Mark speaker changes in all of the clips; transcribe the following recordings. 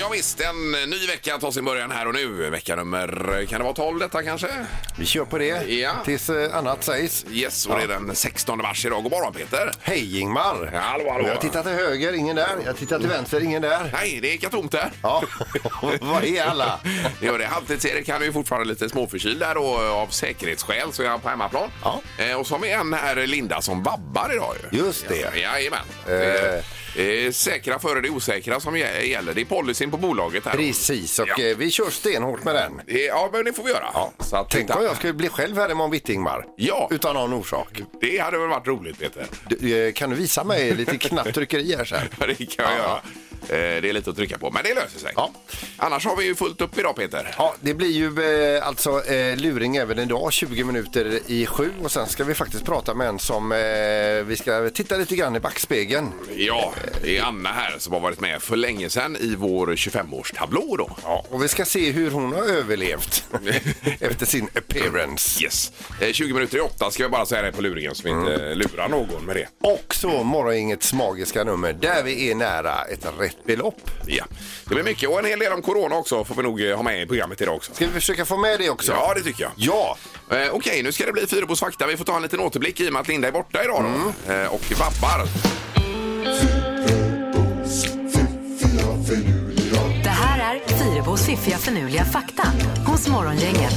Speaker 1: Ja, visst, en ny vecka tar sin början här och nu. Vecka nummer, kan det vara 12 detta kanske?
Speaker 2: Vi kör på det
Speaker 1: Ja.
Speaker 2: tills eh, annat sägs.
Speaker 1: Yes, och det är den 16 mars idag. God morgon Peter!
Speaker 2: Hej Ingmar!
Speaker 1: Hallå, hallå!
Speaker 2: Jag tittar till höger, ingen där. Jag tittar till vänster, ingen där.
Speaker 1: Nej, det ekar tomt där.
Speaker 2: Ja, vad är alla?
Speaker 1: Det gör det. Halvtids-Erik han är ju fortfarande lite småförkyld där och eh, av säkerhetsskäl så är han på hemmaplan.
Speaker 2: Ja.
Speaker 1: Eh, och så har vi en här, Linda, som vabbar idag ju.
Speaker 2: Just det.
Speaker 1: Ja, jajamän.
Speaker 2: Eh.
Speaker 1: Eh. Eh, säkra före det osäkra som gä- gäller. Det är policyn på bolaget här.
Speaker 2: Precis, och
Speaker 1: Ja.
Speaker 2: eh, vi kör stenhårt med den.
Speaker 1: Eh, Ja, men det får vi göra. Så att,
Speaker 2: Tänk om jag skulle bli själv här imorgon bitti Ingmar.
Speaker 1: Ja.
Speaker 2: Utan någon orsak.
Speaker 1: Det hade väl varit roligt, Peter?
Speaker 2: Du, eh, kan du visa mig lite knapptryckeri här sen?
Speaker 1: Ja, det kan jag
Speaker 2: Ja,
Speaker 1: göra. Eh, Det är lite att trycka på, men det löser sig.
Speaker 2: Ja.
Speaker 1: Annars har vi ju fullt upp idag, Peter.
Speaker 2: Ja, det blir ju eh, alltså eh, luring även idag, 20 minuter i sju. Och sen ska vi faktiskt prata med en som eh, vi ska titta lite grann i backspegeln.
Speaker 1: Ja, det är Anna här som har varit med för länge sedan i vår 25-årstablå då.
Speaker 2: Ja, och vi ska se hur hon har överlevt efter sin appearance.
Speaker 1: Yes. Eh, 20 minuter i åtta ska jag bara säga det på luringen så vi inte eh, lurar någon med det.
Speaker 2: Och så Morgongängets magiska nummer där vi är nära ett rätt belopp.
Speaker 1: Ja. Det blir mycket och en hel del om corona också får vi nog eh, ha med i programmet idag också.
Speaker 2: Ska vi försöka få med det också?
Speaker 1: Ja, det tycker jag.
Speaker 2: Ja,
Speaker 1: Eh, Okej, nu ska det bli Fyrebos fakta. Vi får ta en liten återblick i och med att Linda är borta idag då. Eh, och vabbar.
Speaker 3: Det här är Fyrebos fiffiga förnuliga fakta hos Morgongänget.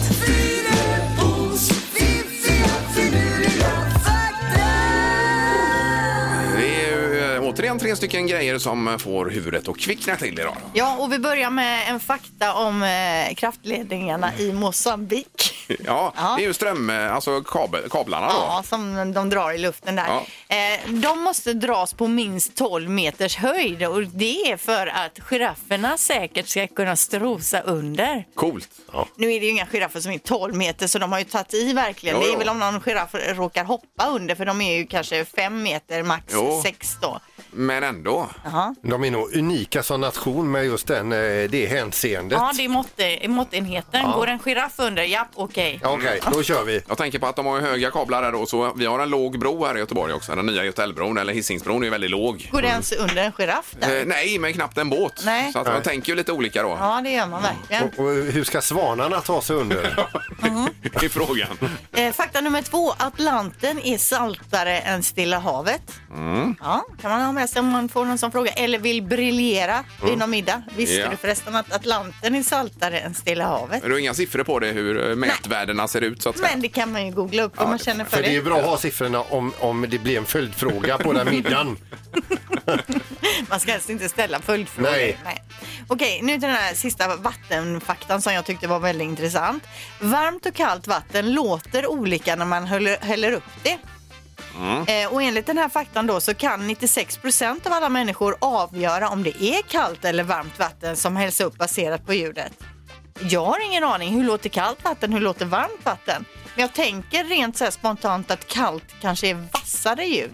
Speaker 1: Det är ju eh, återigen tre stycken grejer som eh, får huvudet att kvickna till idag. då.
Speaker 4: Ja, och vi börjar med en fakta om eh, kraftledningarna i Mosambik.
Speaker 1: Ja,
Speaker 4: Ja.
Speaker 1: det är ju ström, eh, alltså kabel, kablarna då.
Speaker 4: Ja, som de drar i luften där.
Speaker 1: Ja.
Speaker 4: Eh, de måste dras på minst 12 meters höjd och det är för att girafferna säkert ska kunna strosa under.
Speaker 1: Coolt. Ja.
Speaker 4: Nu är det ju inga giraffer som är 12 meter så de har ju tagit i verkligen.
Speaker 1: Jo,
Speaker 4: Det
Speaker 1: jo.
Speaker 4: är väl om någon giraff råkar hoppa under för de är ju kanske 5 meter, max
Speaker 1: Jo.
Speaker 4: 6 då.
Speaker 1: Men ändå.
Speaker 4: Jaha.
Speaker 2: de är nog unika som nation med just den, eh, det hänseendet.
Speaker 4: Ja, det är måtte, måttenheten. Går en giraff under, japp, okej.
Speaker 2: Ja, Okej, då kör vi.
Speaker 1: Jag tänker på att de har ju höga kablar här då, så vi har en låg bro här i Göteborg också. Den nya Götaälvbron, eller Hisingsbron, är ju väldigt låg.
Speaker 4: Går det ens under en giraff där?
Speaker 1: Eh, nej, men knappt en båt.
Speaker 4: Nej.
Speaker 1: Så att man tänker ju lite olika då,
Speaker 4: Ja, det gör man verkligen.
Speaker 2: Och, och hur ska svanarna ta sig under?
Speaker 1: i frågan.
Speaker 4: Eh, fakta nummer två. Atlanten är saltare än Stilla havet. Ja, kan man ha med sig om man får någon sån fråga. Eller vill briljera vid någon middag. Visste
Speaker 1: Ja.
Speaker 4: du förresten att Atlanten är saltare än Stilla havet?
Speaker 1: Men Du har inga siffror på det, hur eh, mätvärdena ser ut så att säga.
Speaker 4: Men det kan man ju googla upp om man känner för
Speaker 2: För det är
Speaker 4: det.
Speaker 2: bra att ha siffrorna om, om det blir en följdfråga på den middagen.
Speaker 4: Mm. Man ska helst inte ställa följdfrågor.
Speaker 2: Nej.
Speaker 4: Okej, nu till den här sista vattenfaktan som jag tyckte var väldigt intressant. Varmt och kallt vatten låter olika när man höll- häller upp det. Eh, och enligt den här faktan då så kan 96 av alla människor avgöra om det är kallt eller varmt vatten som hälls upp baserat på ljudet. Jag har ingen aning. Hur låter kallt vatten? Hur låter varmt vatten? Men jag tänker rent så här spontant att kallt kanske är vassare ljud.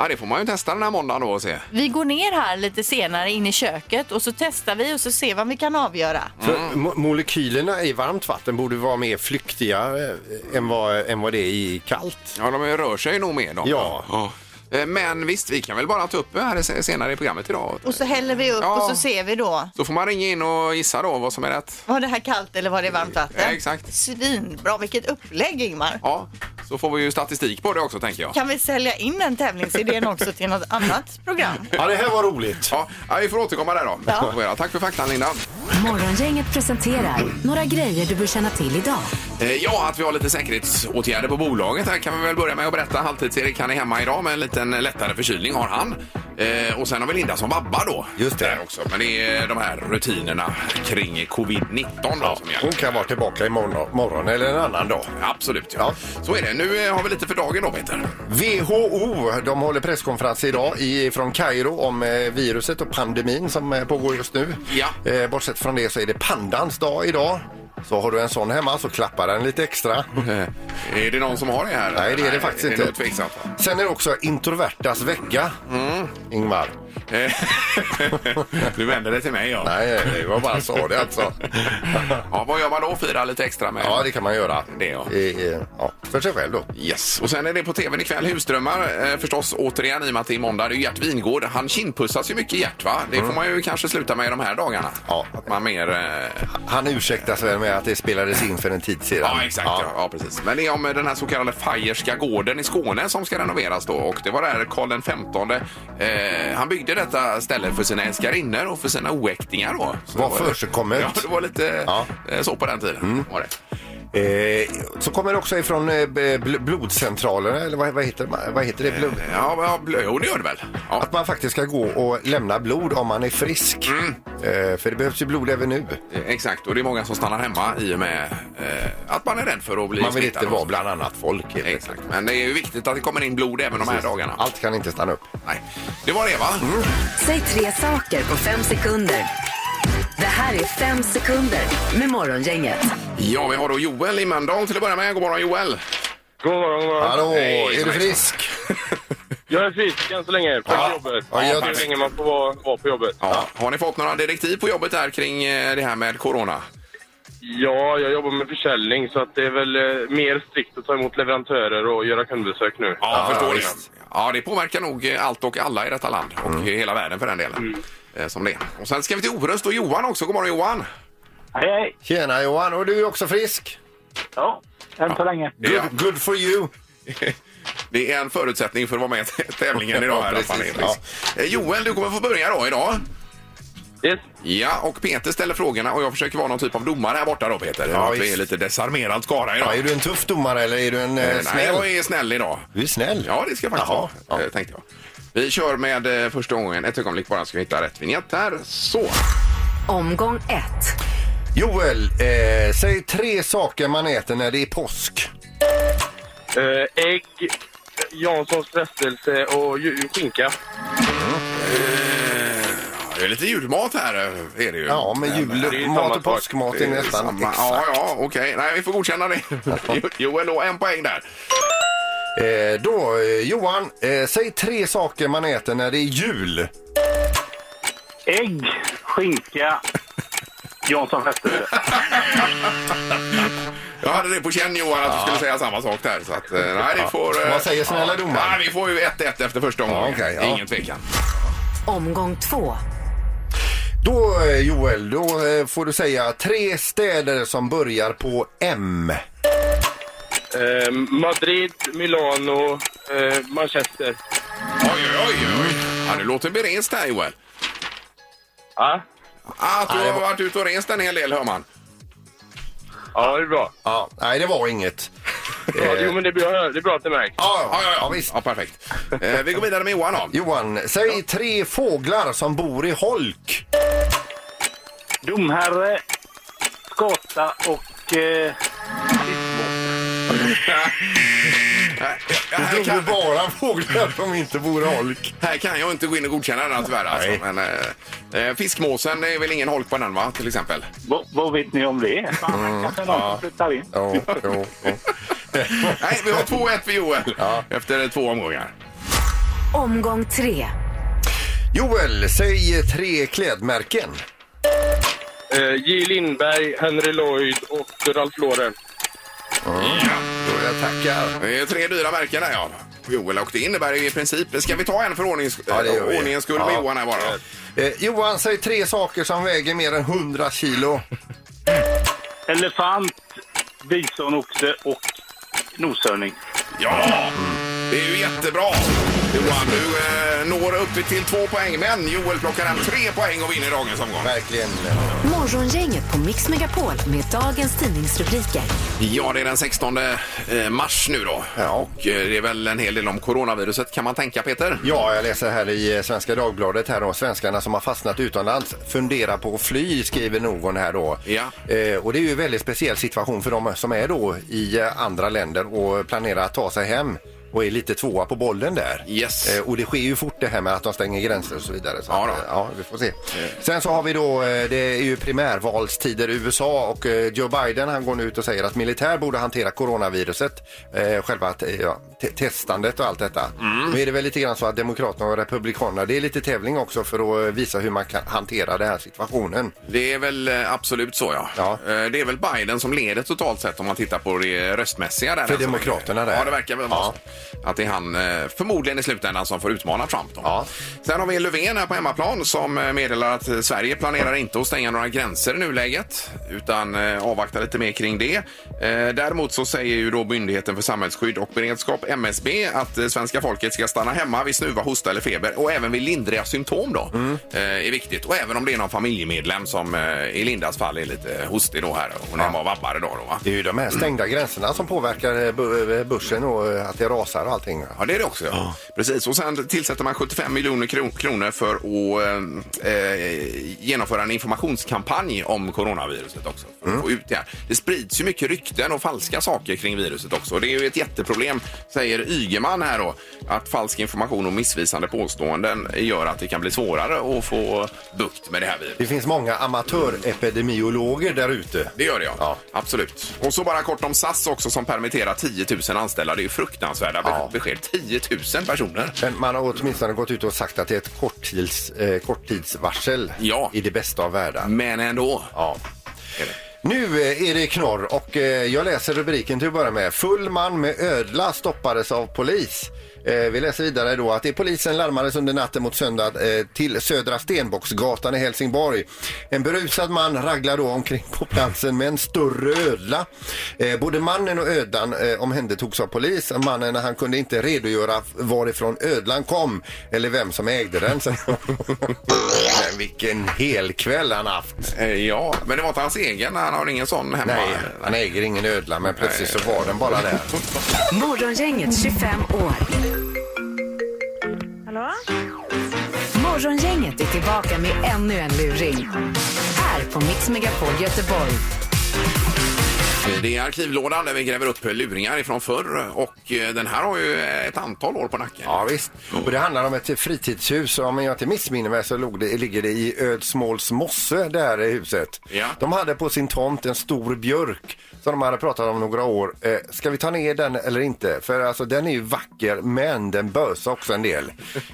Speaker 1: Ja, det får man ju testa den här måndagen då och se.
Speaker 4: Vi går ner här lite senare in i köket och så testar vi och så ser vad vi kan avgöra.
Speaker 2: För mo- molekylerna i varmt vatten borde vara mer flyktiga eh, än vad, än vad det är i kallt.
Speaker 1: Ja, de rör sig ju nog mer då.
Speaker 2: Ja.
Speaker 1: Eh, Men visst, vi kan väl bara ta upp det här se- senare i programmet idag.
Speaker 4: Och så häller vi upp
Speaker 1: Ja.
Speaker 4: och så ser vi då.
Speaker 1: Så får man ringa in och gissa då vad som är rätt.
Speaker 4: Var det här kallt eller var det varmt vatten?
Speaker 1: Ja, exakt.
Speaker 4: Svinbra, vilket upplägg Ingmar.
Speaker 1: Ja, så får vi ju statistik på det också tänker jag.
Speaker 4: Kan vi sälja in den tävlingsidén också till något annat program?
Speaker 2: Ja, det här var roligt.
Speaker 1: Ja, ja, vi får återkomma där då.
Speaker 4: Ja.
Speaker 1: Får göra. Tack för faktan Linda.
Speaker 3: Morgongänget presenterar några grejer du bör känna till idag.
Speaker 1: Eh, Ja, att vi har lite säkerhetsåtgärder på bolaget här kan vi väl börja med att berätta. Halvtids-Erik han är hemma idag med en liten lättare förkylning har han. Eh, och sen har vi Linda som vabbar då.
Speaker 2: Just det.
Speaker 1: Där också. Men det är de här rutinerna kring covid-19 då som
Speaker 2: Hon
Speaker 1: gäller.
Speaker 2: kan vara tillbaka imorgon morgon eller en annan dag.
Speaker 1: Absolut, ja. Så är det. Nu eh, har vi lite för dagen då, Peter.
Speaker 2: WHO de håller presskonferens idag i, från Kairo om eh, viruset och pandemin som eh, pågår just nu.
Speaker 1: Ja.
Speaker 2: Eh, bortsett från det så är det pandans dag idag. Så har du en sån hemma så klappa den lite extra.
Speaker 1: Eh, är det någon som har det här?
Speaker 2: Nej, det är det faktiskt
Speaker 1: det
Speaker 2: inte.
Speaker 1: Är nog tveksamt. va?
Speaker 2: Sen är det också introvertas vecka. Mm. Ingmar.
Speaker 1: Eh, du vänder dig till mig, ja.
Speaker 2: Nej, nej, jag bara sa det alltså.
Speaker 1: ja. Vad gör man då? Fira lite extra med?
Speaker 2: Ja, det kan man göra.
Speaker 1: Det, ja.
Speaker 2: Eh, eh, ja. För sig själv då.
Speaker 1: Yes. Och sen är det på tvn ikväll, Husdrömmar eh, förstås återigen i och med att det är måndag. Det är ju Gert Wingård. Han kindpussas ju mycket Gert va? Det får man ju kanske sluta med i de här dagarna.
Speaker 2: Mm. Ja.
Speaker 1: Att man mer... Eh,
Speaker 2: Han ursäktas väl med att det spelades in för en tid sedan.
Speaker 1: ja exakt, ja. ja precis. Men det är om eh, den här så kallade Fajerska gården i Skåne som ska renoveras då. Och det var där Karl XV, eh, han byggde detta ställe för sina älskarinnor och för sina oäktingar då. Så
Speaker 2: Vad
Speaker 1: det var-
Speaker 2: försigkommet.
Speaker 1: Ja, det var lite
Speaker 2: Ja. Mm.
Speaker 1: eh, så på den tiden. Var det.
Speaker 2: Eh, så kommer det också ifrån eh, bl- blodcentralen, eller vad, vad, heter, man- vad heter det? Blod?
Speaker 1: Ja, ja, blö- jo, det gör det väl. Ja.
Speaker 2: Att man faktiskt ska gå och lämna blod om man är frisk.
Speaker 1: Mm.
Speaker 2: Eh, för det behövs ju blod även nu.
Speaker 1: Eh, Exakt, och det är många som stannar hemma i och med eh, att man är rädd för att bli
Speaker 2: Man vill
Speaker 1: smittad
Speaker 2: inte vara
Speaker 1: också.
Speaker 2: bland annat folk. helt enkelt.
Speaker 1: Exakt, men det är ju viktigt att det kommer in blod även de här dagarna.
Speaker 2: Allt Mm. kan inte stanna upp.
Speaker 1: Nej. Det var det va?
Speaker 3: Säg tre saker på fem sekunder. Det här är fem sekunder med Morgongänget.
Speaker 1: Ja, vi har då Joel i Mölndal till att börja med. God morgon Joel!
Speaker 5: God morgon, god morgon.
Speaker 2: Hallå,
Speaker 1: Hej,
Speaker 2: är du
Speaker 1: hejsan.
Speaker 2: frisk?
Speaker 5: Jag är frisk än så länge. På
Speaker 2: Ja.
Speaker 5: jobbet.
Speaker 2: Ja, jag-
Speaker 5: Hur länge man får vara, vara på jobbet.
Speaker 1: Ja. Har ni fått några direktiv på jobbet där kring eh, det här med corona?
Speaker 5: Ja, jag jobbar med försäljning så att det är väl eh, mer strikt att ta emot leverantörer och göra kundbesök nu.
Speaker 1: Ja, jag förstår
Speaker 5: visst.
Speaker 1: det. Ja, det påverkar nog eh, allt och alla i detta land
Speaker 2: Mm.
Speaker 1: och i hela världen för den delen. Eh, Som det är. Och sen ska vi till Orust och Johan också. God morgon Johan!
Speaker 6: Hej, hej.
Speaker 2: Tjena Johan, och du är också frisk?
Speaker 6: Ja, än så länge.
Speaker 2: Good,
Speaker 1: Ja.
Speaker 2: good for you!
Speaker 1: Det är en förutsättning för att vara med i tävlingen idag. här,
Speaker 2: Ja, precis.
Speaker 1: i alla fall, Elis. Eh, Joel, du kommer få börja då idag.
Speaker 5: Yes.
Speaker 1: Ja, och Peter ställer frågorna och jag försöker vara någon typ av domare här borta då Peter.
Speaker 2: Ja,
Speaker 1: Ja, vi
Speaker 2: visst.
Speaker 1: är lite desarmerad skara
Speaker 2: Ja,
Speaker 1: idag.
Speaker 2: är du en tuff domare eller är du en eh,
Speaker 1: Eh, Nej,
Speaker 2: snäll?
Speaker 1: jag är snäll idag.
Speaker 2: Du är snäll.
Speaker 1: Ja, det ska jag faktiskt
Speaker 2: Jaha,
Speaker 1: vara,
Speaker 2: ja.
Speaker 1: eh, tänkte jag. Vi kör med eh, första gången. Ett ögonblick bara ska vi hitta rätt vignett här. Så.
Speaker 3: Omgång ett.
Speaker 2: Joel, eh, säg tre saker man äter när det är påsk.
Speaker 5: Eh, ägg, Janssons frestelse och ju- skinka.
Speaker 1: Ja, Det är lite julmat här eh, är det ju.
Speaker 2: Ja, men
Speaker 5: det är ju
Speaker 2: julmat
Speaker 5: samma
Speaker 2: och
Speaker 5: sak.
Speaker 2: påskmat
Speaker 1: Det
Speaker 2: är
Speaker 1: är
Speaker 2: nästan
Speaker 1: samma.
Speaker 2: exakt.
Speaker 1: Ja, ja, okej. Nej, vi får godkänna det. Jo- Joel och en poäng där.
Speaker 2: Eh, då, eh, Johan, eh, säg tre saker man äter när det är jul.
Speaker 6: Ägg, skinka, Jansson frestelse.
Speaker 1: Jag hade det på känn Johan att du skulle säga samma sak där. Så att, eh, nej, det får, eh,
Speaker 2: Vad säger snälla domaren?
Speaker 1: Nej, vi får ju 1-1 efter första omgången.
Speaker 2: Ja, okej, ja.
Speaker 1: Ingen tvekan.
Speaker 3: Omgång två.
Speaker 2: Då, eh, Joel, då eh, får du säga tre städer som börjar på M.
Speaker 5: Eh, Madrid, Milano, eh, Manchester.
Speaker 1: Oj, oj, oj. oj. Ja, du låter berest här Joel.
Speaker 5: Ja,
Speaker 1: Att du har varit ute och rest en hel del hör man.
Speaker 5: ja det är bra.
Speaker 2: Ja, nej, det var inget.
Speaker 5: Ja, jo, men det är bra, det är bra att det märks.
Speaker 2: Ja, ja, ja, visst.
Speaker 1: Ja, perfekt. Eh, vi går vidare med Johan då.
Speaker 2: Johan, säg tre fåglar som bor i holk.
Speaker 6: Domherre, skata och... Eh,
Speaker 1: Här, här,
Speaker 2: Det bor
Speaker 1: kan,
Speaker 2: bara fåglar som inte bor i holk.
Speaker 1: här kan jag inte gå in och godkänna den tyvärr. Alltså. Men, eh, eh, fiskmåsen är väl ingen holk på den va, till exempel?
Speaker 6: vad, vad vet ni om det? Fan, kanske någon som flyttar in.
Speaker 2: Ja, jo, jo.
Speaker 1: Nej, vi har 2-1 för Joel efter två omgångar.
Speaker 3: Omgång tre.
Speaker 2: Joel, säg tre klädmärken.
Speaker 5: Eh, J. Lindberg, Henry Lloyd och Ralph Lauren.
Speaker 2: Då jag tackar.
Speaker 1: Det är tre dyra märken där ja. Joel och det innebär ju i princip... Ska vi ta en för ordnings,
Speaker 2: Ja, det gör vi.
Speaker 1: ordningens skull med
Speaker 2: Ja.
Speaker 1: Johan här bara?
Speaker 2: Eh, Johan, säg tre saker som väger mer än 100 kilo.
Speaker 6: Elefant, bisonoxe och noshörning.
Speaker 1: Ja! Det är ju jättebra! Johan, du eh, når upp till två poäng, men Joel plockar hem tre poäng och vinner dagens omgång.
Speaker 2: Verkligen.
Speaker 3: Morgongänget på Mix Megapol med dagens tidningsrubriker.
Speaker 1: Ja, det är den 16 eh, mars nu då.
Speaker 2: Ja.
Speaker 1: Och eh, det är väl en hel del om coronaviruset kan man tänka, Peter?
Speaker 2: Ja, jag läser här i eh, Svenska Dagbladet här då. Svenskarna som har fastnat utomlands funderar på att fly, skriver någon här då.
Speaker 1: Ja.
Speaker 2: Eh, och det är ju en väldigt speciell situation för de som är då i eh, andra länder och planerar att ta sig hem och är lite tvåa på bollen där.
Speaker 1: Yes.
Speaker 2: Eh, och det sker ju fort det här med att de stänger gränser och så vidare. Så
Speaker 1: Ja
Speaker 2: att,
Speaker 1: då.
Speaker 2: eh, ja, vi får se. Sen så har vi då, eh, det är ju primärvalstider i USA och eh, Joe Biden han går nu ut och säger att militär borde hantera coronaviruset, eh, själva att, eh, ja, te- testandet och allt detta.
Speaker 1: Mm.
Speaker 2: Nu är det väl lite grann så att Demokraterna och Republikanerna, det är lite tävling också för att eh, visa hur man kan hantera den här situationen.
Speaker 1: Det är väl eh, absolut så, ja.
Speaker 2: Ja.
Speaker 1: Eh, Det är väl Biden som leder totalt sett om man tittar på det röstmässiga. Där
Speaker 2: För Demokraterna där.
Speaker 1: Ja, det verkar väl vara
Speaker 2: Ja.
Speaker 1: så. Att det är han eh, förmodligen i slutändan som får utmana Trump. Då.
Speaker 2: Ja.
Speaker 1: Sen har vi Löfven här på hemmaplan som eh, meddelar att eh, Sverige planerar inte att stänga några gränser i nuläget utan eh, avvaktar lite mer kring det. Eh, Däremot så säger ju då Myndigheten för samhällsskydd och beredskap, MSB, att eh, svenska folket ska stanna hemma vid snuva, hosta eller feber och även vid lindriga symptom då. eh, Är viktigt. Och även om det är någon familjemedlem som eh, i Lindas fall är lite hostig då här. Hon är hemma och vabbar idag då va?
Speaker 2: Det är ju de här stängda gränserna som påverkar eh, bu- eh, börsen och eh, att det rasar och allting.
Speaker 1: Ja, det är det också. Ja. Precis. Och sen tillsätter man 75 miljoner kro- kronor för att eh, eh, genomföra en informationskampanj om coronaviruset också. För
Speaker 2: Mm.
Speaker 1: att få ut det, här. det sprids ju mycket rykten och falska saker kring viruset också. Och Det är ju ett jätteproblem, säger Ygeman här då, att falsk information och missvisande påståenden gör att det kan bli svårare att få bukt med det här viruset.
Speaker 2: Det finns många amatörepidemiologer där ute.
Speaker 1: Det gör det, ja.
Speaker 2: Ja.
Speaker 1: Absolut. Och så bara kort om SAS också som permitterar 10 000 anställda. Det är ju fruktansvärda be-
Speaker 2: Ja.
Speaker 1: besked. 10 000 personer.
Speaker 2: Men man har åtminstone gått ut och sagt att det är ett korttids, eh, korttidsvarsel
Speaker 1: Ja.
Speaker 2: i det bästa av världar.
Speaker 1: Men ändå.
Speaker 2: Ja.
Speaker 1: Är det.
Speaker 2: Nu eh, är det knorr och eh, jag läser rubriken till att börja med. Full man med ödla stoppades av polis. Eh, Vi läser vidare då att det polisen larmades under natten mot söndag eh, till Södra Stenbocksgatan i Helsingborg. En berusad man raglar då omkring på platsen med en större ödla. Eh, Både mannen och ödlan eh, omhändertogs av polis. Mannen han kunde inte redogöra varifrån ödlan kom eller vem som ägde den. Så- Men vilken hel kväll han haft.
Speaker 1: Eh, Ja, men det var inte hans egen. Han har ingen sån hemma.
Speaker 2: Nej, han äger ingen ödla, men plötsligt så var den bara där.
Speaker 3: Morgongänget 25 år.
Speaker 7: Hallå?
Speaker 3: Morgongänget är tillbaka med ännu en luring. Här på Mix Megapol Göteborg.
Speaker 1: Det är arkivlådan där vi gräver upp luringar ifrån förr. Och eh, den här har ju ett antal år på nacken.
Speaker 2: Ja, visst. Och det handlar om ett fritidshus. Om jag inte missminner mig så låg det, ligger det i Ödsmåls mosse, det här huset.
Speaker 1: Ja.
Speaker 2: De hade på sin tomt en stor björk som de hade pratat om några år. Eh, ska vi ta ner den eller inte? För alltså, den är ju vacker, men den bösar också en del.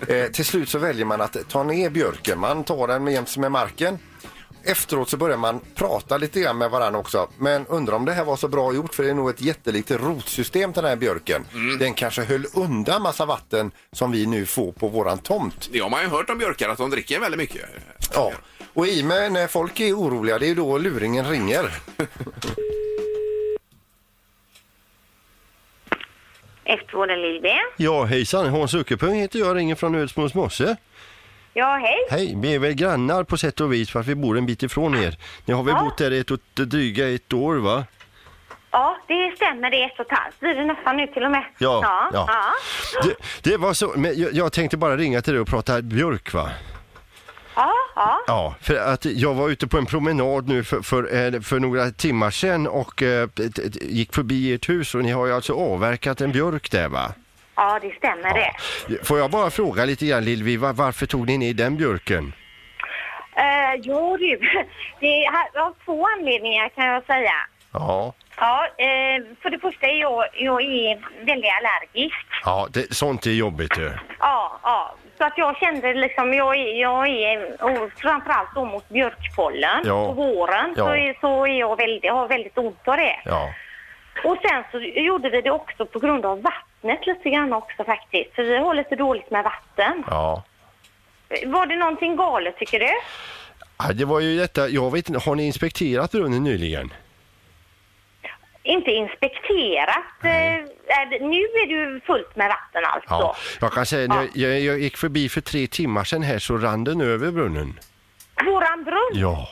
Speaker 2: Eh, till slut så väljer man att ta ner björken. Man tar den jäms med marken. Efteråt så börjar man prata lite grann med varandra också. Men undrar om det här var så bra gjort för det är nog ett jättelikt rotsystem till den här björken. Den kanske höll undan massa vatten som vi nu får på våran tomt.
Speaker 1: Det har man ju hört om björkar, att de dricker väldigt mycket.
Speaker 2: Ja. Och i och med när folk är oroliga, det är ju då luringen ringer.
Speaker 7: Eftervården Lilben.
Speaker 8: Ja, hejsan. Hans Uckepung heter jag, ringer från Ödsmåls mosse.
Speaker 7: Ja, hej.
Speaker 8: Hej, vi är väl grannar på sätt och vis för att vi bor en bit ifrån er. Ni har väl
Speaker 7: Ja.
Speaker 8: bott där ett och dryga ett år va?
Speaker 7: Ja, det stämmer. Det är ett och ett halvt. Blir det nästan nu till och med?
Speaker 8: Ja,
Speaker 7: Ja.
Speaker 8: ja.
Speaker 7: ja.
Speaker 8: Det, det var så, men jag, jag tänkte bara ringa till dig och prata björk va?
Speaker 7: ja, ja.
Speaker 8: Ja, för att jag var ute på en promenad nu för, för, eh, för några timmar sedan och eh, t- t- gick förbi ert hus och ni har ju alltså avverkat en björk där va?
Speaker 7: ja det stämmer det.
Speaker 8: Får jag bara fråga lite grann Lill-Vi, va- varför tog ni ner den björken?
Speaker 7: Uh, jo du, det är av två anledningar kan jag säga.
Speaker 8: Ja.
Speaker 7: Ja, eh, för det första är jag, jag är väldigt allergisk.
Speaker 8: Ja, det, sånt är jobbigt ju.
Speaker 7: Ja, ja. Så att jag kände liksom, jag är, jag är och framförallt då mot björkpollen
Speaker 8: Ja.
Speaker 7: på våren så,
Speaker 8: Ja.
Speaker 7: är, så är jag väldigt, har väldigt ont av det.
Speaker 8: Ja.
Speaker 7: Och sen så gjorde vi det också på grund av vattnet lite grann också faktiskt. För vi har lite dåligt med vatten.
Speaker 8: Ja.
Speaker 7: Var det någonting galet tycker du?
Speaker 8: Ja, det var ju detta, jag vet inte, har ni inspekterat brunnen nyligen?
Speaker 7: Inte inspekterat. Eh, är det- nu är det ju fullt med vatten alltså.
Speaker 8: Ja. Jag kan säga, när
Speaker 7: Ja.
Speaker 8: jag, jag gick förbi för tre timmar sedan här så rann den över brunnen.
Speaker 7: Våran brunn?
Speaker 8: Ja.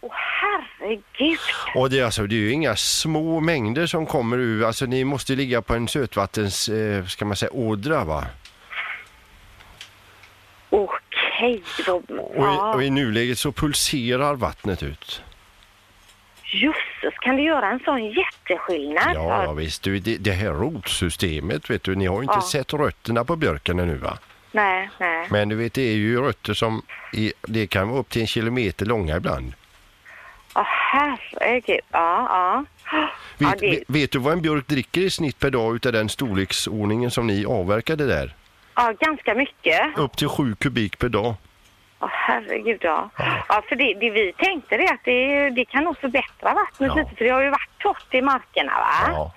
Speaker 7: Åh herregud.
Speaker 8: Och det, är alltså, det är ju inga små mängder som kommer ur, alltså ni måste ju ligga på en sötvattens, eh, ska man säga, ådra va?
Speaker 7: Okej då.
Speaker 8: Och,
Speaker 7: Ja.
Speaker 8: i, och i nuläget så pulserar vattnet ut.
Speaker 7: Jösses, kan du göra en sån
Speaker 8: Äh.
Speaker 7: jätteskillnad?
Speaker 8: Ja, ja visst, du, det, det här rotsystemet vet du, ni har ju inte
Speaker 7: Ja.
Speaker 8: sett rötterna på björken ännu va?
Speaker 7: Nej, nej.
Speaker 8: Men du vet, det är ju rötter som i, det kan vara upp till en kilometer långa ibland.
Speaker 7: Åh, herregud. Ja, ja. Ja,
Speaker 8: Vet,
Speaker 7: det,
Speaker 8: ve- vet du vad en björk dricker i snitt per dag utav den storleksordningen som ni avverkade där?
Speaker 7: ja, ganska mycket.
Speaker 8: Upp till sju kubik per dag.
Speaker 7: Åh, herregud, ja. ja för det, det vi tänkte det är att det, det kan nog förbättra vattnet
Speaker 8: Ja.
Speaker 7: lite, för det har ju varit torrt i markerna, va?
Speaker 8: Ja.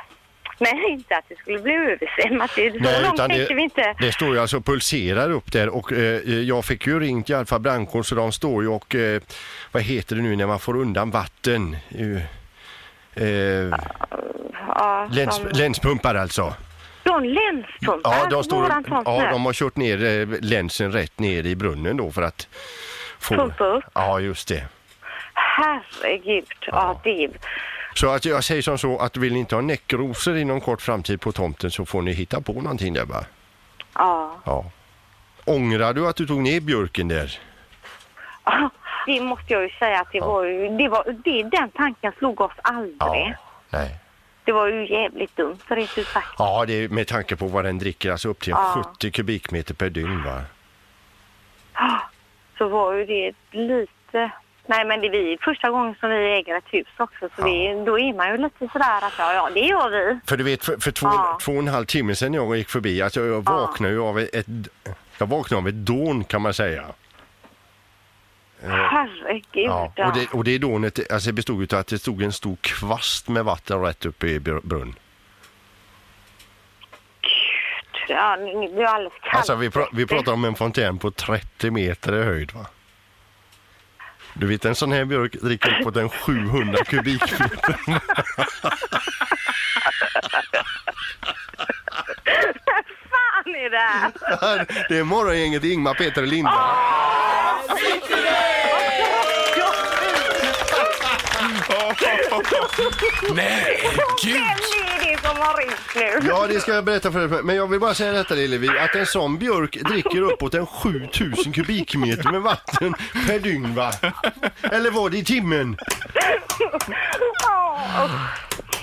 Speaker 7: Men inte att det skulle bli översvämmat. Det- Så långt
Speaker 8: utan
Speaker 7: tänker vi inte.
Speaker 8: det står ju alltså och pulserar upp där och eh, jag fick ju ringt i alla fall brandkår så de står ju och eh, vad heter det nu när man får undan vatten? Eh, eh,
Speaker 7: Ja,
Speaker 8: läns,
Speaker 7: de,
Speaker 8: länspumpar alltså.
Speaker 7: de länspumpar,
Speaker 8: Ja, de,
Speaker 7: alltså,
Speaker 8: står,
Speaker 7: våran tomt
Speaker 8: ja,
Speaker 7: nu.
Speaker 8: de har kört ner eh, länsen rätt ner i brunnen då för att få...
Speaker 7: Pumpa upp.
Speaker 8: Ja, just det.
Speaker 7: Herregud, ja, det...
Speaker 8: Så att jag säger som så att vill ni inte ha näckrosor inom kort framtid på tomten så får ni hitta på någonting där va?
Speaker 7: Ja.
Speaker 8: Ja. Ångrar du att du tog ner björken där?
Speaker 7: Det måste jag ju säga att det var ju... Det var, det, den tanken slog oss aldrig.
Speaker 8: Nej.
Speaker 7: Det var ju jävligt dumt, för det ut sagt.
Speaker 8: Ja, det är med tanke på vad den dricker, alltså upp till
Speaker 7: Ja.
Speaker 8: 70 kubikmeter per dygn va?
Speaker 7: Så var ju det lite... Nej, men det är vi, första gången som vi äger ett hus också, så det, då är man ju lite sådär att ja, ja, det gör vi.
Speaker 8: För du vet, för, för två,
Speaker 7: Ja.
Speaker 8: två och en halv timme sedan jag gick förbi, alltså jag vaknade ju av ett, jag vaknade av ett dån kan man säga.
Speaker 7: Herregud,
Speaker 8: Ja. Och, det, och det dånet, alltså det bestod utav att det stod en stor kvast med vatten rätt upp i br- brunn.
Speaker 7: Gud. Ja, nu nu blir jag alldeles kall.
Speaker 8: Alltså vi, pra- vi pratar om en fontän på 30 meter i höjd va? Du vet en sån här björk dricker på den 700 kubikmeter.
Speaker 7: fan är det här?
Speaker 8: Det är morgongänget Ingmar, Peter och Linda.
Speaker 1: Nej,
Speaker 7: Vem är det som har ringt nu?
Speaker 8: Ja, det ska jag berätta för dig. Men jag vill bara säga detta Lillevi, att en sån björk dricker uppåt en 7000 kubikmeter med vatten per dygn va? Eller var det i timmen?
Speaker 7: Ja,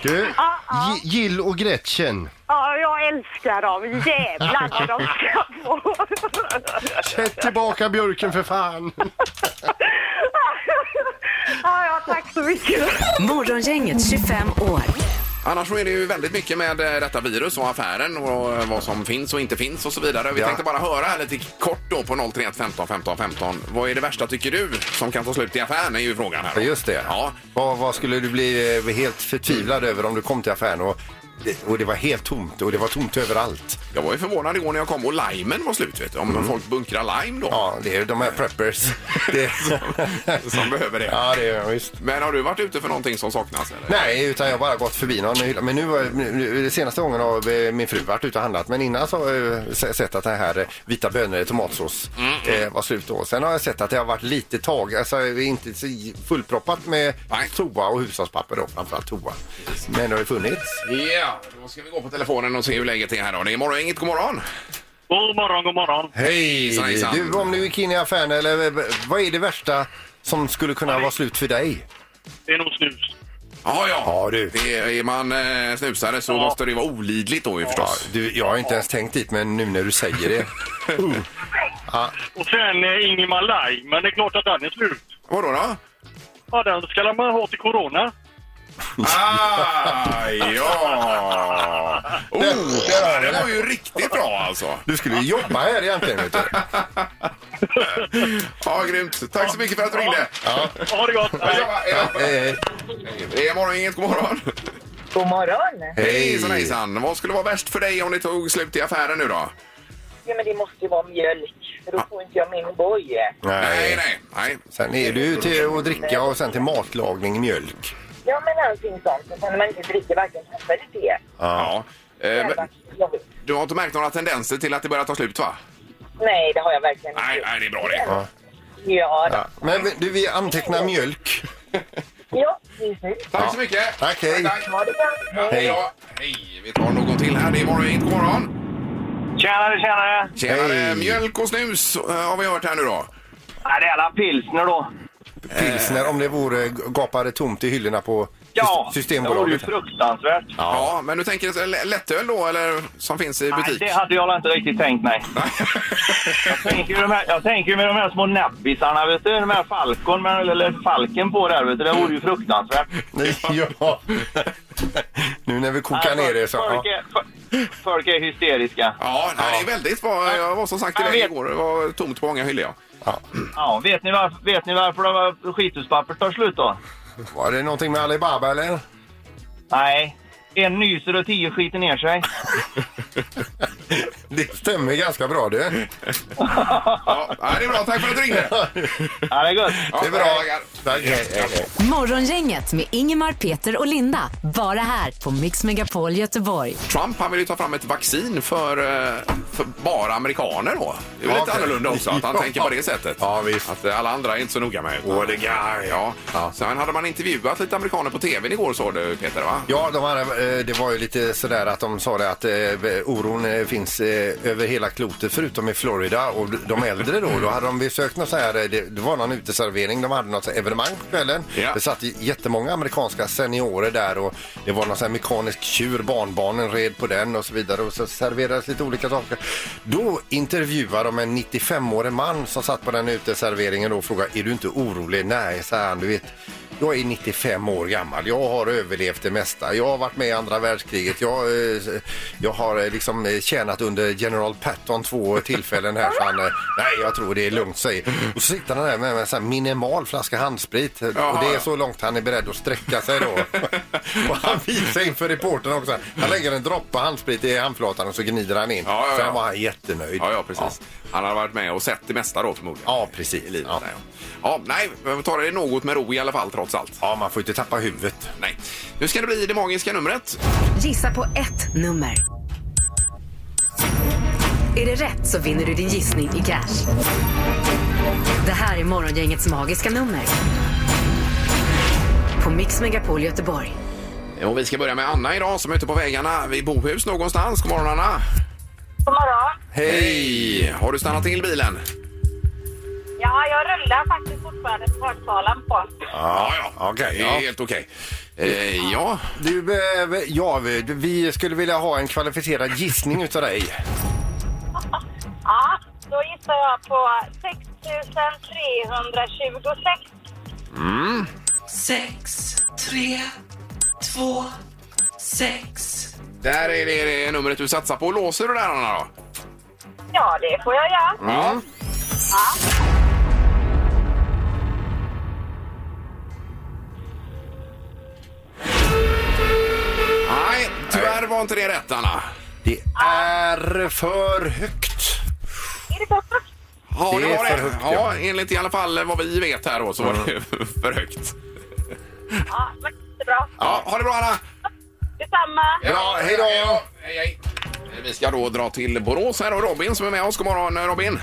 Speaker 8: Du, Gi- Jill och Gretchen,
Speaker 7: ja, jag älskar dem. Jävlar vad de ska få.
Speaker 8: sätt tillbaka björken för fan!
Speaker 7: Ja, ja, tack så mycket.
Speaker 3: Morgongänget 25 år.
Speaker 1: Annars så är det ju väldigt mycket med eh, detta virus och affären och eh, vad som finns och inte finns och så vidare. Vi
Speaker 2: Ja.
Speaker 1: tänkte bara höra här lite kort då på 031 15 15 15. Vad är det värsta tycker du som kan ta slut i affären är ju frågan här.
Speaker 2: Ja,
Speaker 1: då.
Speaker 2: just det.
Speaker 1: Ja.
Speaker 2: Vad, vad skulle du bli eh, helt förtvivlad över om du kom till affären och, och det var helt tomt och det var tomt överallt?
Speaker 1: Jag var ju förvånad igår när jag kom och limen var slut vet du. Om folk bunkrar lime då
Speaker 2: Mm. Ja, det är de här preppers. Det...
Speaker 1: som behöver det.
Speaker 2: ja, det är visst.
Speaker 1: Men har du varit ute för någonting som saknas eller?
Speaker 2: Nej, utan jag har bara gått förbi någon hylla. Men nu, var- nu, nu senaste gången har eh, min fru varit ute och handlat. Men innan så har jag eh, se- sett att det här eh, vita bönor i tomatsås eh, var slut då. Sen har jag sett att det har varit lite tag, alltså det är inte så fullproppat med
Speaker 1: Nej.
Speaker 2: toa och hushållspapper då, framförallt toa. Men det har ju funnits.
Speaker 1: Ja, då ska vi gå på telefonen och se hur läget är här då. Det är morgongänget, god morgon!
Speaker 6: God morgon, god morgon.
Speaker 2: Hej!
Speaker 1: Hejsan, hejsan.
Speaker 2: Du, om du gick in i affären, eller eh, vad är det värsta som skulle kunna vara slut för dig?
Speaker 6: Det är nog snus.
Speaker 1: Ja, ja.
Speaker 2: Ja, du.
Speaker 1: Det är, är man eh, snusare så måste det vara olidligt då ju förstås.
Speaker 2: Du, jag har inte ens tänkt dit, men nu när du säger det. Oh,
Speaker 6: Och sen eh, Ingemar Lai, men det är klart att den är slut.
Speaker 1: Vadå då?
Speaker 6: Ja, den ska man ha till corona.
Speaker 1: Ah, ja! Oh, det, det var ju riktigt bra alltså.
Speaker 2: Du skulle ju jobba här egentligen, vet du.
Speaker 1: Ja, grymt. Tack så mycket för att du ringde.
Speaker 6: Ha det gott! Hej.
Speaker 1: Ja, ja.
Speaker 2: Hej, hej.
Speaker 1: Det är morgongänget, god morgon!
Speaker 9: God morgon!
Speaker 1: Hejsan hejsan! Vad skulle vara värst för dig om det tog slut i affären nu då?
Speaker 9: Ja, men det måste ju vara mjölk, för då får inte jag min boj.
Speaker 1: Nej,
Speaker 2: Nej.
Speaker 1: nej, nej.
Speaker 2: Sen är du ju till att dricka och sen till matlagning, mjölk.
Speaker 9: Ja, men allting sånt. Och sen när man inte dricker varken kaffe eller te.
Speaker 1: Ja. Eh,
Speaker 9: Jävla
Speaker 1: men
Speaker 9: jobbigt.
Speaker 1: du har inte märkt några tendenser till att det börjar ta slut va?
Speaker 9: Nej, det har jag verkligen
Speaker 1: Nej,
Speaker 9: inte.
Speaker 1: nej det är bra det.
Speaker 9: Ja, då.
Speaker 2: Ja. Men du, vi antecknar mjölk.
Speaker 9: ja precis.
Speaker 1: Tack så mycket!
Speaker 2: Tack, hej.
Speaker 1: Tack, tack.
Speaker 9: Ha det bra.
Speaker 2: Hej.
Speaker 1: Ja, hej! Vi tar någon till här. Det är morgongänget, god morgon!
Speaker 6: Tjenare, tjenare!
Speaker 1: Tjenare!
Speaker 2: Hej.
Speaker 1: Mjölk och snus eh, har vi hört här nu då.
Speaker 6: Ja, det är alla pilsner då.
Speaker 2: Pilsner, om det vore gapade tomt i hyllorna på
Speaker 6: Ja,
Speaker 2: Sys-
Speaker 6: det vore ju
Speaker 2: Systembolaget.
Speaker 6: fruktansvärt.
Speaker 1: Ja, men du tänker en l- lättöl då, eller som finns i
Speaker 6: Nej,
Speaker 1: butik?
Speaker 6: det hade jag inte riktigt tänkt mig. jag, tänker ju de här, jag tänker ju med de här små nabbisarna, vet du? De här falkon, med- eller falken på där, vet du? Det vore ju fruktansvärt.
Speaker 2: ja. nu när vi kokar ner det så.
Speaker 6: Folk
Speaker 2: Ja.
Speaker 6: är, folk- folk är hysteriska.
Speaker 1: Ja, nej, det är väldigt bra. Jag var som sagt till
Speaker 6: Jag
Speaker 1: dig
Speaker 6: vet.
Speaker 1: igår. Det var tomt på många hyllor. ja.
Speaker 6: Ja, vet ni varför, vet ni varför de- skithuspapper tar slut då?
Speaker 2: Var det någonting med Alibaba eller?
Speaker 6: Nej, en nyser och tio skiter ner sig.
Speaker 2: Det stämmer ganska bra du.
Speaker 1: Ja, ja, det är bra. Tack för att du ringde.
Speaker 6: Ja, det är gött.
Speaker 1: Ja,
Speaker 2: Det är bra.
Speaker 1: tackar.
Speaker 2: Tack, hej, hej, hej.
Speaker 3: Morgongänget med Ingemar, Peter och Linda. Bara här på Mix Megapol Göteborg.
Speaker 1: Trump han vill ju ta fram ett vaccin för, eh, för bara amerikaner då. Det är väl
Speaker 2: Ja,
Speaker 1: lite
Speaker 2: okej.
Speaker 1: annorlunda också att han
Speaker 2: Ja.
Speaker 1: tänker på det sättet.
Speaker 2: Ja, visst.
Speaker 1: Att eh, alla andra är inte så noga med. Oh, the guy. Ja.
Speaker 2: Ja.
Speaker 1: Sen hade man intervjuat lite amerikaner på tv igår såg du Peter va?
Speaker 2: Ja, de här, eh, det var ju lite sådär att de sa det att eh, oron eh, finns eh, över hela klotet förutom i Florida och d- de äldre då, då hade de besökt något så här, eh, det, det var någon uteservering, de hade något så här evenemang på kvällen.
Speaker 1: Ja.
Speaker 2: Det satt j- jättemånga amerikanska seniorer där och det var någon så här mekanisk tjur, barnbarnen red på den och så vidare och så serverades lite olika saker. Då intervjuade de en 95-årig man som satt på den uteserveringen då och frågade, är du inte orolig? Nej, sa han, du vet. Jag är 95 år gammal. Jag har överlevt det mesta. Jag har varit med i andra världskriget. Jag, eh, jag har eh, liksom eh, tjänat under General Patton två tillfällen här. Så han, eh, nej, jag tror det är lugnt, säger Och så sitter han där med en sån här minimal flaska handsprit.
Speaker 1: Jaha,
Speaker 2: och det
Speaker 1: ja.
Speaker 2: är så långt han är beredd att sträcka sig då. och han visar inför reportern också. Han lägger en droppe handsprit i handflatan och så gnider han in.
Speaker 1: Ja, ja, ja.
Speaker 2: Sen var han jättenöjd.
Speaker 1: Ja, ja precis. Han har varit med och sett det mesta då förmodligen.
Speaker 2: Ja, precis.
Speaker 1: I livet,
Speaker 2: Ja.
Speaker 1: där, ja. ja, nej, men vi tar det något med ro i alla fall trots allt.
Speaker 2: Ja, man får inte tappa huvudet.
Speaker 1: Nej. Nu ska det bli det magiska numret.
Speaker 3: Gissa på ett nummer. Är det rätt så vinner du din gissning i cash. Det här är Morgongängets magiska nummer. På Mix Megapol Göteborg.
Speaker 1: Och vi ska börja med Anna idag som är ute på vägarna vid Bohus någonstans. God morgon Anna!
Speaker 7: God morgon.
Speaker 1: Hej! Har du stannat till bilen?
Speaker 7: Ja, jag rullar faktiskt fortfarande på högtalaren på.
Speaker 1: Ja, ja.
Speaker 2: Okej,
Speaker 1: Det är
Speaker 2: ja.
Speaker 1: helt okej. Eh, ja.
Speaker 2: Du, eh, ja, vi- vi skulle vilja ha en kvalificerad gissning utav dig.
Speaker 7: Ja, då gissar jag på 6326.
Speaker 1: Där är det, det numret du satsar på. Låser du där Anna då? Mm.
Speaker 7: Ja, det får jag göra.
Speaker 2: Mm.
Speaker 1: Ja. Nej, tyvärr var inte det rätt Anna.
Speaker 2: Det är för högt.
Speaker 7: Är det för högt?
Speaker 1: Ja,
Speaker 2: Det
Speaker 1: det
Speaker 2: är
Speaker 1: var
Speaker 2: för
Speaker 1: det.
Speaker 2: högt, ja. Mm.
Speaker 1: ja, enligt i alla fall vad vi vet här då så var det för högt.
Speaker 7: Ja, men det är bra.
Speaker 1: Ja, ha det bra Anna!
Speaker 7: Detsamma.
Speaker 2: Bra, hej då!
Speaker 1: Hej, hej. Eh, Vi ska då dra till Borås här och Robin som är med oss. God morgon eh, Robin!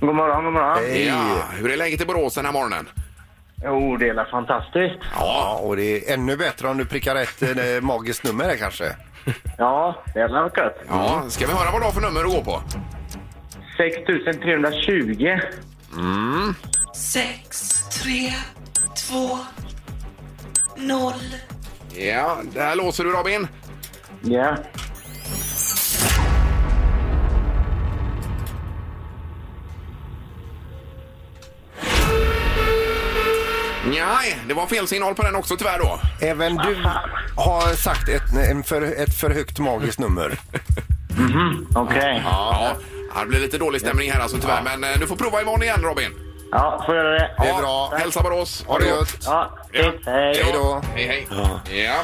Speaker 5: God morgon, god morgon.
Speaker 2: Hej.
Speaker 1: Ja, hur är läget i Borås den här morgonen?
Speaker 5: Jo, det är fantastiskt.
Speaker 2: Ja, och det är ännu bättre om du prickar rätt eh, magiskt nummer här kanske.
Speaker 5: Ja, det är väl gött.
Speaker 1: Ja, ska vi höra vad du har för nummer du går på?
Speaker 5: 6320.
Speaker 1: Ja, där låser du Robin.
Speaker 5: Ja.
Speaker 1: Nej, det var fel signal på den också tyvärr då.
Speaker 2: Även du har sagt ett, en för, ett för högt magiskt nummer.
Speaker 5: Okej.
Speaker 1: Ja, ja, det blir lite dålig stämning här alltså tyvärr. Men eh, du får prova imorgon igen Robin.
Speaker 5: Ja, får jag göra det?
Speaker 2: Det är bra.
Speaker 1: Hälsa Borås.
Speaker 2: Ha det gött!
Speaker 5: Ja,
Speaker 1: Ja.
Speaker 5: fint. Hej.
Speaker 2: Hej då!
Speaker 1: Hej, hej. Ja.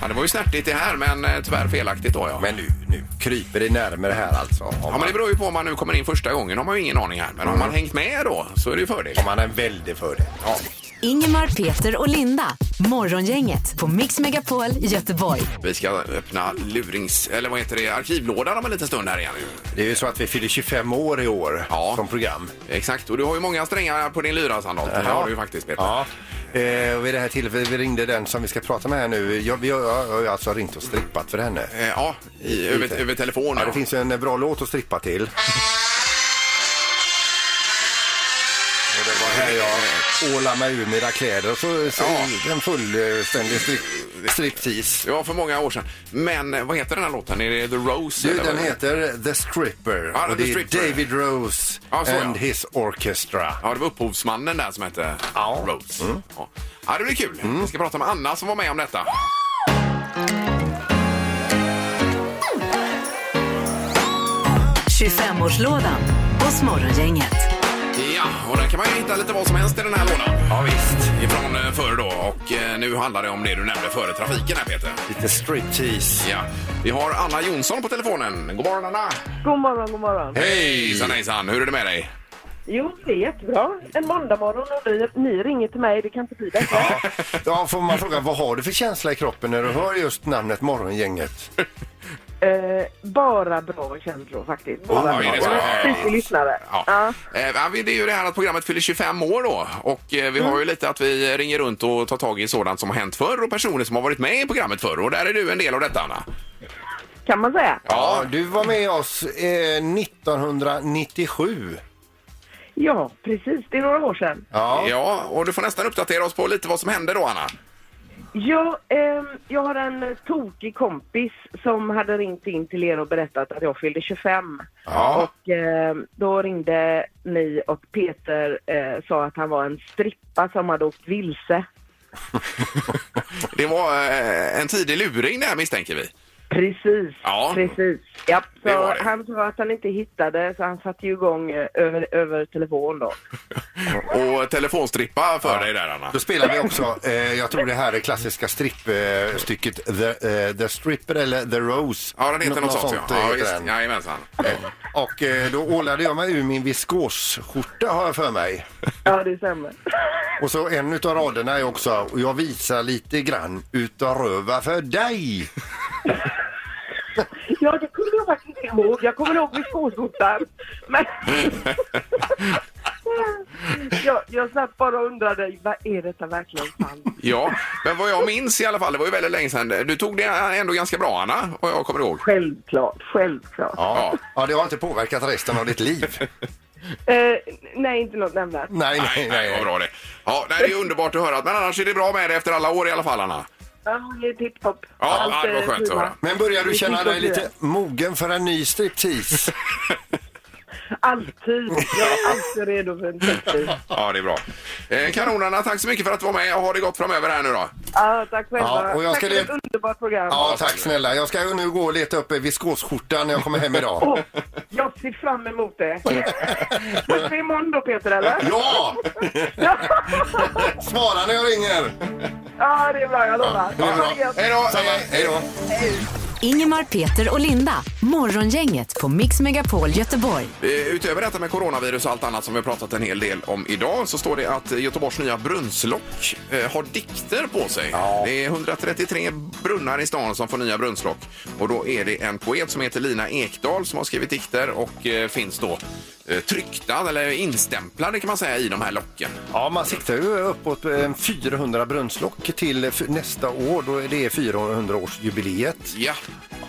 Speaker 1: ja, det var ju snärtigt det här men eh, tyvärr felaktigt då ja.
Speaker 2: Men nu, nu kryper det närmare här alltså. Har
Speaker 1: Ja, men det
Speaker 2: man,
Speaker 1: beror ju på om man nu kommer in första gången. har man ju ingen aning här. Men har
Speaker 2: Mm.
Speaker 1: man hängt med då så är det ju fördel.
Speaker 2: har man en väldig fördel.
Speaker 1: Ja.
Speaker 3: Ingemar, Peter och Linda. Morgongänget på Mix Megapol Göteborg.
Speaker 1: Vi ska öppna lurings... Eller vad heter det? Arkivlådan om en liten stund här igen.
Speaker 2: Det är ju så att vi fyller 25 år i år
Speaker 1: Ja.
Speaker 2: som program.
Speaker 1: Exakt, och du har ju många strängar på din lyra Sandholt. Det har du ju faktiskt Peter.
Speaker 2: Ja. Eh, och vid det här tillfället, vi ringde den som vi ska prata med här nu. Jag, vi har, jag har ju alltså ringt och strippat för henne.
Speaker 1: Eh, Ja, i, över, över telefon.
Speaker 2: Ja, det finns ju en bra låt att strippa till. Och det var här jag... åla mig ur mina kläder och så, så
Speaker 1: Ja.
Speaker 2: en fullständig strip, striptease.
Speaker 1: Det var för många år sedan. Men eh, vad heter den här låten? Är det The Rose?
Speaker 2: Du,
Speaker 1: eller
Speaker 2: den
Speaker 1: vad är det?
Speaker 2: heter The Stripper
Speaker 1: Ja,
Speaker 2: och
Speaker 1: The
Speaker 2: det är
Speaker 1: Stripper.
Speaker 2: David Rose
Speaker 1: Ja, så, ja.
Speaker 2: and his orchestra.
Speaker 1: Ja, det var upphovsmannen där som hette
Speaker 2: Ja. Mm.
Speaker 1: Rose. Ja. ja, det blir kul. Vi ska prata med Anna som var med om detta.
Speaker 3: Morgongänget. 25-årslådan hos Morgongänget.
Speaker 1: Ja, och där kan man ju hitta lite vad som helst i den här lådan. Ja, visst. Ifrån eh, förr då. Och eh, nu handlar det om det du nämnde före trafiken här, Peter.
Speaker 2: Lite striptease.
Speaker 1: Ja. Vi har Anna Jonsson på telefonen. God morgon, Anna!
Speaker 4: God morgon, god morgon.
Speaker 1: Hejsan, hejsan! Hur är det med dig?
Speaker 4: Jo, det är jättebra. En måndagmorgon och ni, ni ringer till mig, det kan inte bli bättre.
Speaker 2: Ja, får man fråga, vad har du för känsla i kroppen när du hör just namnet Morgongänget?
Speaker 4: Eh, bara bra känslor faktiskt.
Speaker 1: Oj,
Speaker 4: Bara
Speaker 1: är det så?
Speaker 4: bra. Jag är en lyssnare.
Speaker 1: Oh, Ja.
Speaker 4: Ja.
Speaker 1: Eh, ja, vi- Det är ju det här att programmet fyller 25 år då. Och eh, vi
Speaker 2: Mm.
Speaker 1: har ju lite att vi ringer runt och tar tag i sådant som har hänt förr och personer som har varit med i programmet förr. Och där är du en del av detta, Anna.
Speaker 4: Kan man säga.
Speaker 2: Ja, du var med oss eh, 1997.
Speaker 4: Ja, precis. Det är några år sedan.
Speaker 2: Ja.
Speaker 1: Ja, och du får nästan uppdatera oss på lite vad som hände då, Anna.
Speaker 4: Ja, ehm, jag har en tokig kompis som hade ringt in till er och berättat att jag fyllde 25.
Speaker 1: Ja.
Speaker 4: Och ehm, då ringde ni och Peter eh, sa att han var en strippa som hade åkt vilse.
Speaker 1: Det var eh, en tidig luring det här misstänker vi.
Speaker 4: Precis,
Speaker 1: Ja.
Speaker 4: precis. Ja,
Speaker 1: Det var
Speaker 4: så
Speaker 1: det.
Speaker 4: han sa att han inte hittade så han satte ju igång eh, över, över telefon då.
Speaker 1: Och telefonstrippa för dig där, Anna.
Speaker 2: Då spelar vi också, eh, jag tror det här är klassiska strippstycket eh, stycket The, eh, The Stripper eller The Rose.
Speaker 1: Ja, den heter
Speaker 2: Nå-
Speaker 1: något sånt. ja. Ja,
Speaker 2: eh, heter
Speaker 1: visst.
Speaker 2: den.
Speaker 1: Jajamensan.
Speaker 2: Och eh, då ålade jag mig ur min viskosskjorta har jag för mig.
Speaker 4: Ja, det stämmer.
Speaker 2: Och så en utav raderna är också, och jag visar lite grann utav röva för dig.
Speaker 4: Ja, det kunde jag faktiskt inte ihåg. Jag kommer ihåg med skåskjortan. Men... jag, jag satt bara och undrade, vad är detta verkligen sant?
Speaker 1: Ja, men vad jag minns i alla fall, det var ju väldigt länge sedan. Du tog det ändå ganska bra, Anna, och jag kommer ihåg.
Speaker 4: Självklart, självklart.
Speaker 2: Ja. ja, det har inte påverkat resten av ditt liv.
Speaker 4: Eh, nej, inte något nämnvärt.
Speaker 2: Nej,
Speaker 1: Nej,
Speaker 2: nej,
Speaker 1: nej, vad
Speaker 2: nej.
Speaker 1: bra det. Ja, nej, det är underbart att höra. Men annars är det bra med det efter alla år i alla fall, Anna.
Speaker 4: Ja, det är tipptopp.
Speaker 1: Ja,
Speaker 4: Allt
Speaker 1: ja, det var
Speaker 4: är
Speaker 1: skönt att
Speaker 4: prima.
Speaker 1: höra.
Speaker 2: Men börjar du
Speaker 4: Det är
Speaker 2: känna dig
Speaker 4: tipptopp
Speaker 2: lite mogen för en ny striptease?
Speaker 4: Alltid. Jag är alltid redo för en tipptid.
Speaker 1: Ja, det är bra. Eh, kanon, Anna. Tack så mycket för att du var med och ha det gott framöver här nu då.
Speaker 4: Ja, tack själva.
Speaker 2: Ja, och jag
Speaker 4: tack
Speaker 2: ska
Speaker 4: för
Speaker 2: le-
Speaker 4: ett underbart program.
Speaker 2: Ja, tack snälla. Jag ska ju nu gå och leta upp eh, viskosskjortan när jag kommer hem idag.
Speaker 4: Åh, jag ser fram emot det. Ses vi imorgon då, Peter, eller?
Speaker 2: Ja!
Speaker 4: Ja,
Speaker 2: Svara när jag ringer!
Speaker 4: ja det är bra. Jag lovar.
Speaker 2: Det är
Speaker 4: Ha
Speaker 2: bra.
Speaker 4: det gött.
Speaker 1: Hej då!
Speaker 2: Samma. Hej då!
Speaker 3: Ingemar, Peter och Linda. Morgongänget på Mix Megapol Göteborg.
Speaker 1: Eh, Utöver detta med coronavirus och allt annat som vi har pratat en hel del om idag så står det att Göteborgs nya brunnslock eh, har dikter på sig. Det är 133 brunnar i stan som får nya brunnslock. Och då är det en poet som heter Lina Ekdahl som har skrivit dikter och eh, finns då eh, tryckta eller instämplade kan man säga i de här locken.
Speaker 2: Ja, man siktar ju uppåt eh, 400 brunnslock till eh, f- nästa år. Då är det 400-årsjubileet.
Speaker 1: Ja,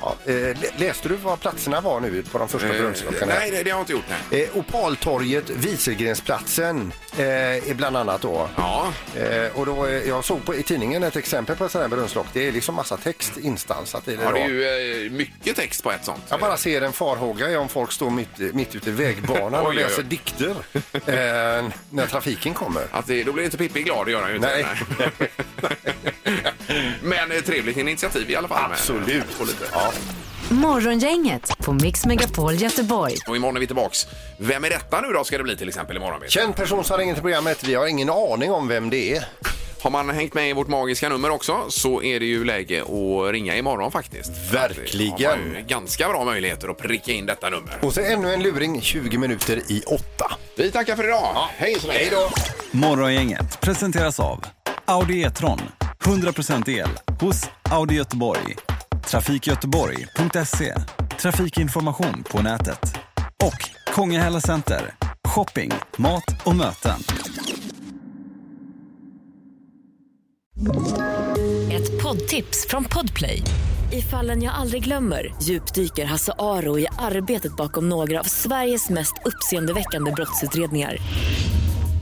Speaker 2: Ja, eh, lä- läste du vad platserna var nu på de första brunnslocken? här?
Speaker 1: Eh, nej det, det har jag inte gjort. Nej.
Speaker 2: Eh, Opaltorget, Wieselgrensplatsen eh, är bland annat då.
Speaker 1: Ja,
Speaker 2: Eh, och då, eh, jag såg på, i tidningen ett exempel på en sån här brunnslock. Det är liksom massa text instansat i det.
Speaker 1: ja det
Speaker 2: då.
Speaker 1: är ju eh, mycket text på ett sånt.
Speaker 2: Jag bara ser en farhåga i om folk står mitt, mitt ute i vägbanan
Speaker 1: Oj,
Speaker 2: och
Speaker 1: oj, oj.
Speaker 2: läser dikter eh, när trafiken kommer.
Speaker 1: Att det, då blir inte Pippi glad, det gör han ju inte.
Speaker 2: Nej.
Speaker 1: Nej. Men ett trevligt initiativ i alla fall. med- eh,
Speaker 2: Absolut.
Speaker 1: och lite.
Speaker 2: Ja.
Speaker 3: Morgongänget på Mix Megapol Göteborg.
Speaker 1: Och imorgon är vi tillbaks. Vem är detta nu då ska det bli till exempel imorgon? Peter?
Speaker 2: Känd person som ringer till programmet. Vi har ingen aning om vem det är.
Speaker 1: Har man hängt med i vårt magiska nummer också så är det ju läge att ringa imorgon faktiskt.
Speaker 2: Verkligen.
Speaker 1: Det har man ju ganska bra möjligheter att pricka in detta nummer.
Speaker 2: Och så ännu en luring 20 minuter i åtta.
Speaker 1: Vi tackar för idag. Hej så länge. Hej då.
Speaker 5: Morgongänget presenteras av Audi E-tron. 100% el hos Audi Göteborg. Trafikgöteborg.se. Trafikinformation på nätet. Och Kongahälla Center. Shopping, mat och möten.
Speaker 10: Ett poddtips från Podplay. I fallen jag aldrig glömmer djupdyker Hasse Aro i arbetet bakom några av Sveriges mest uppseendeväckande brottsutredningar.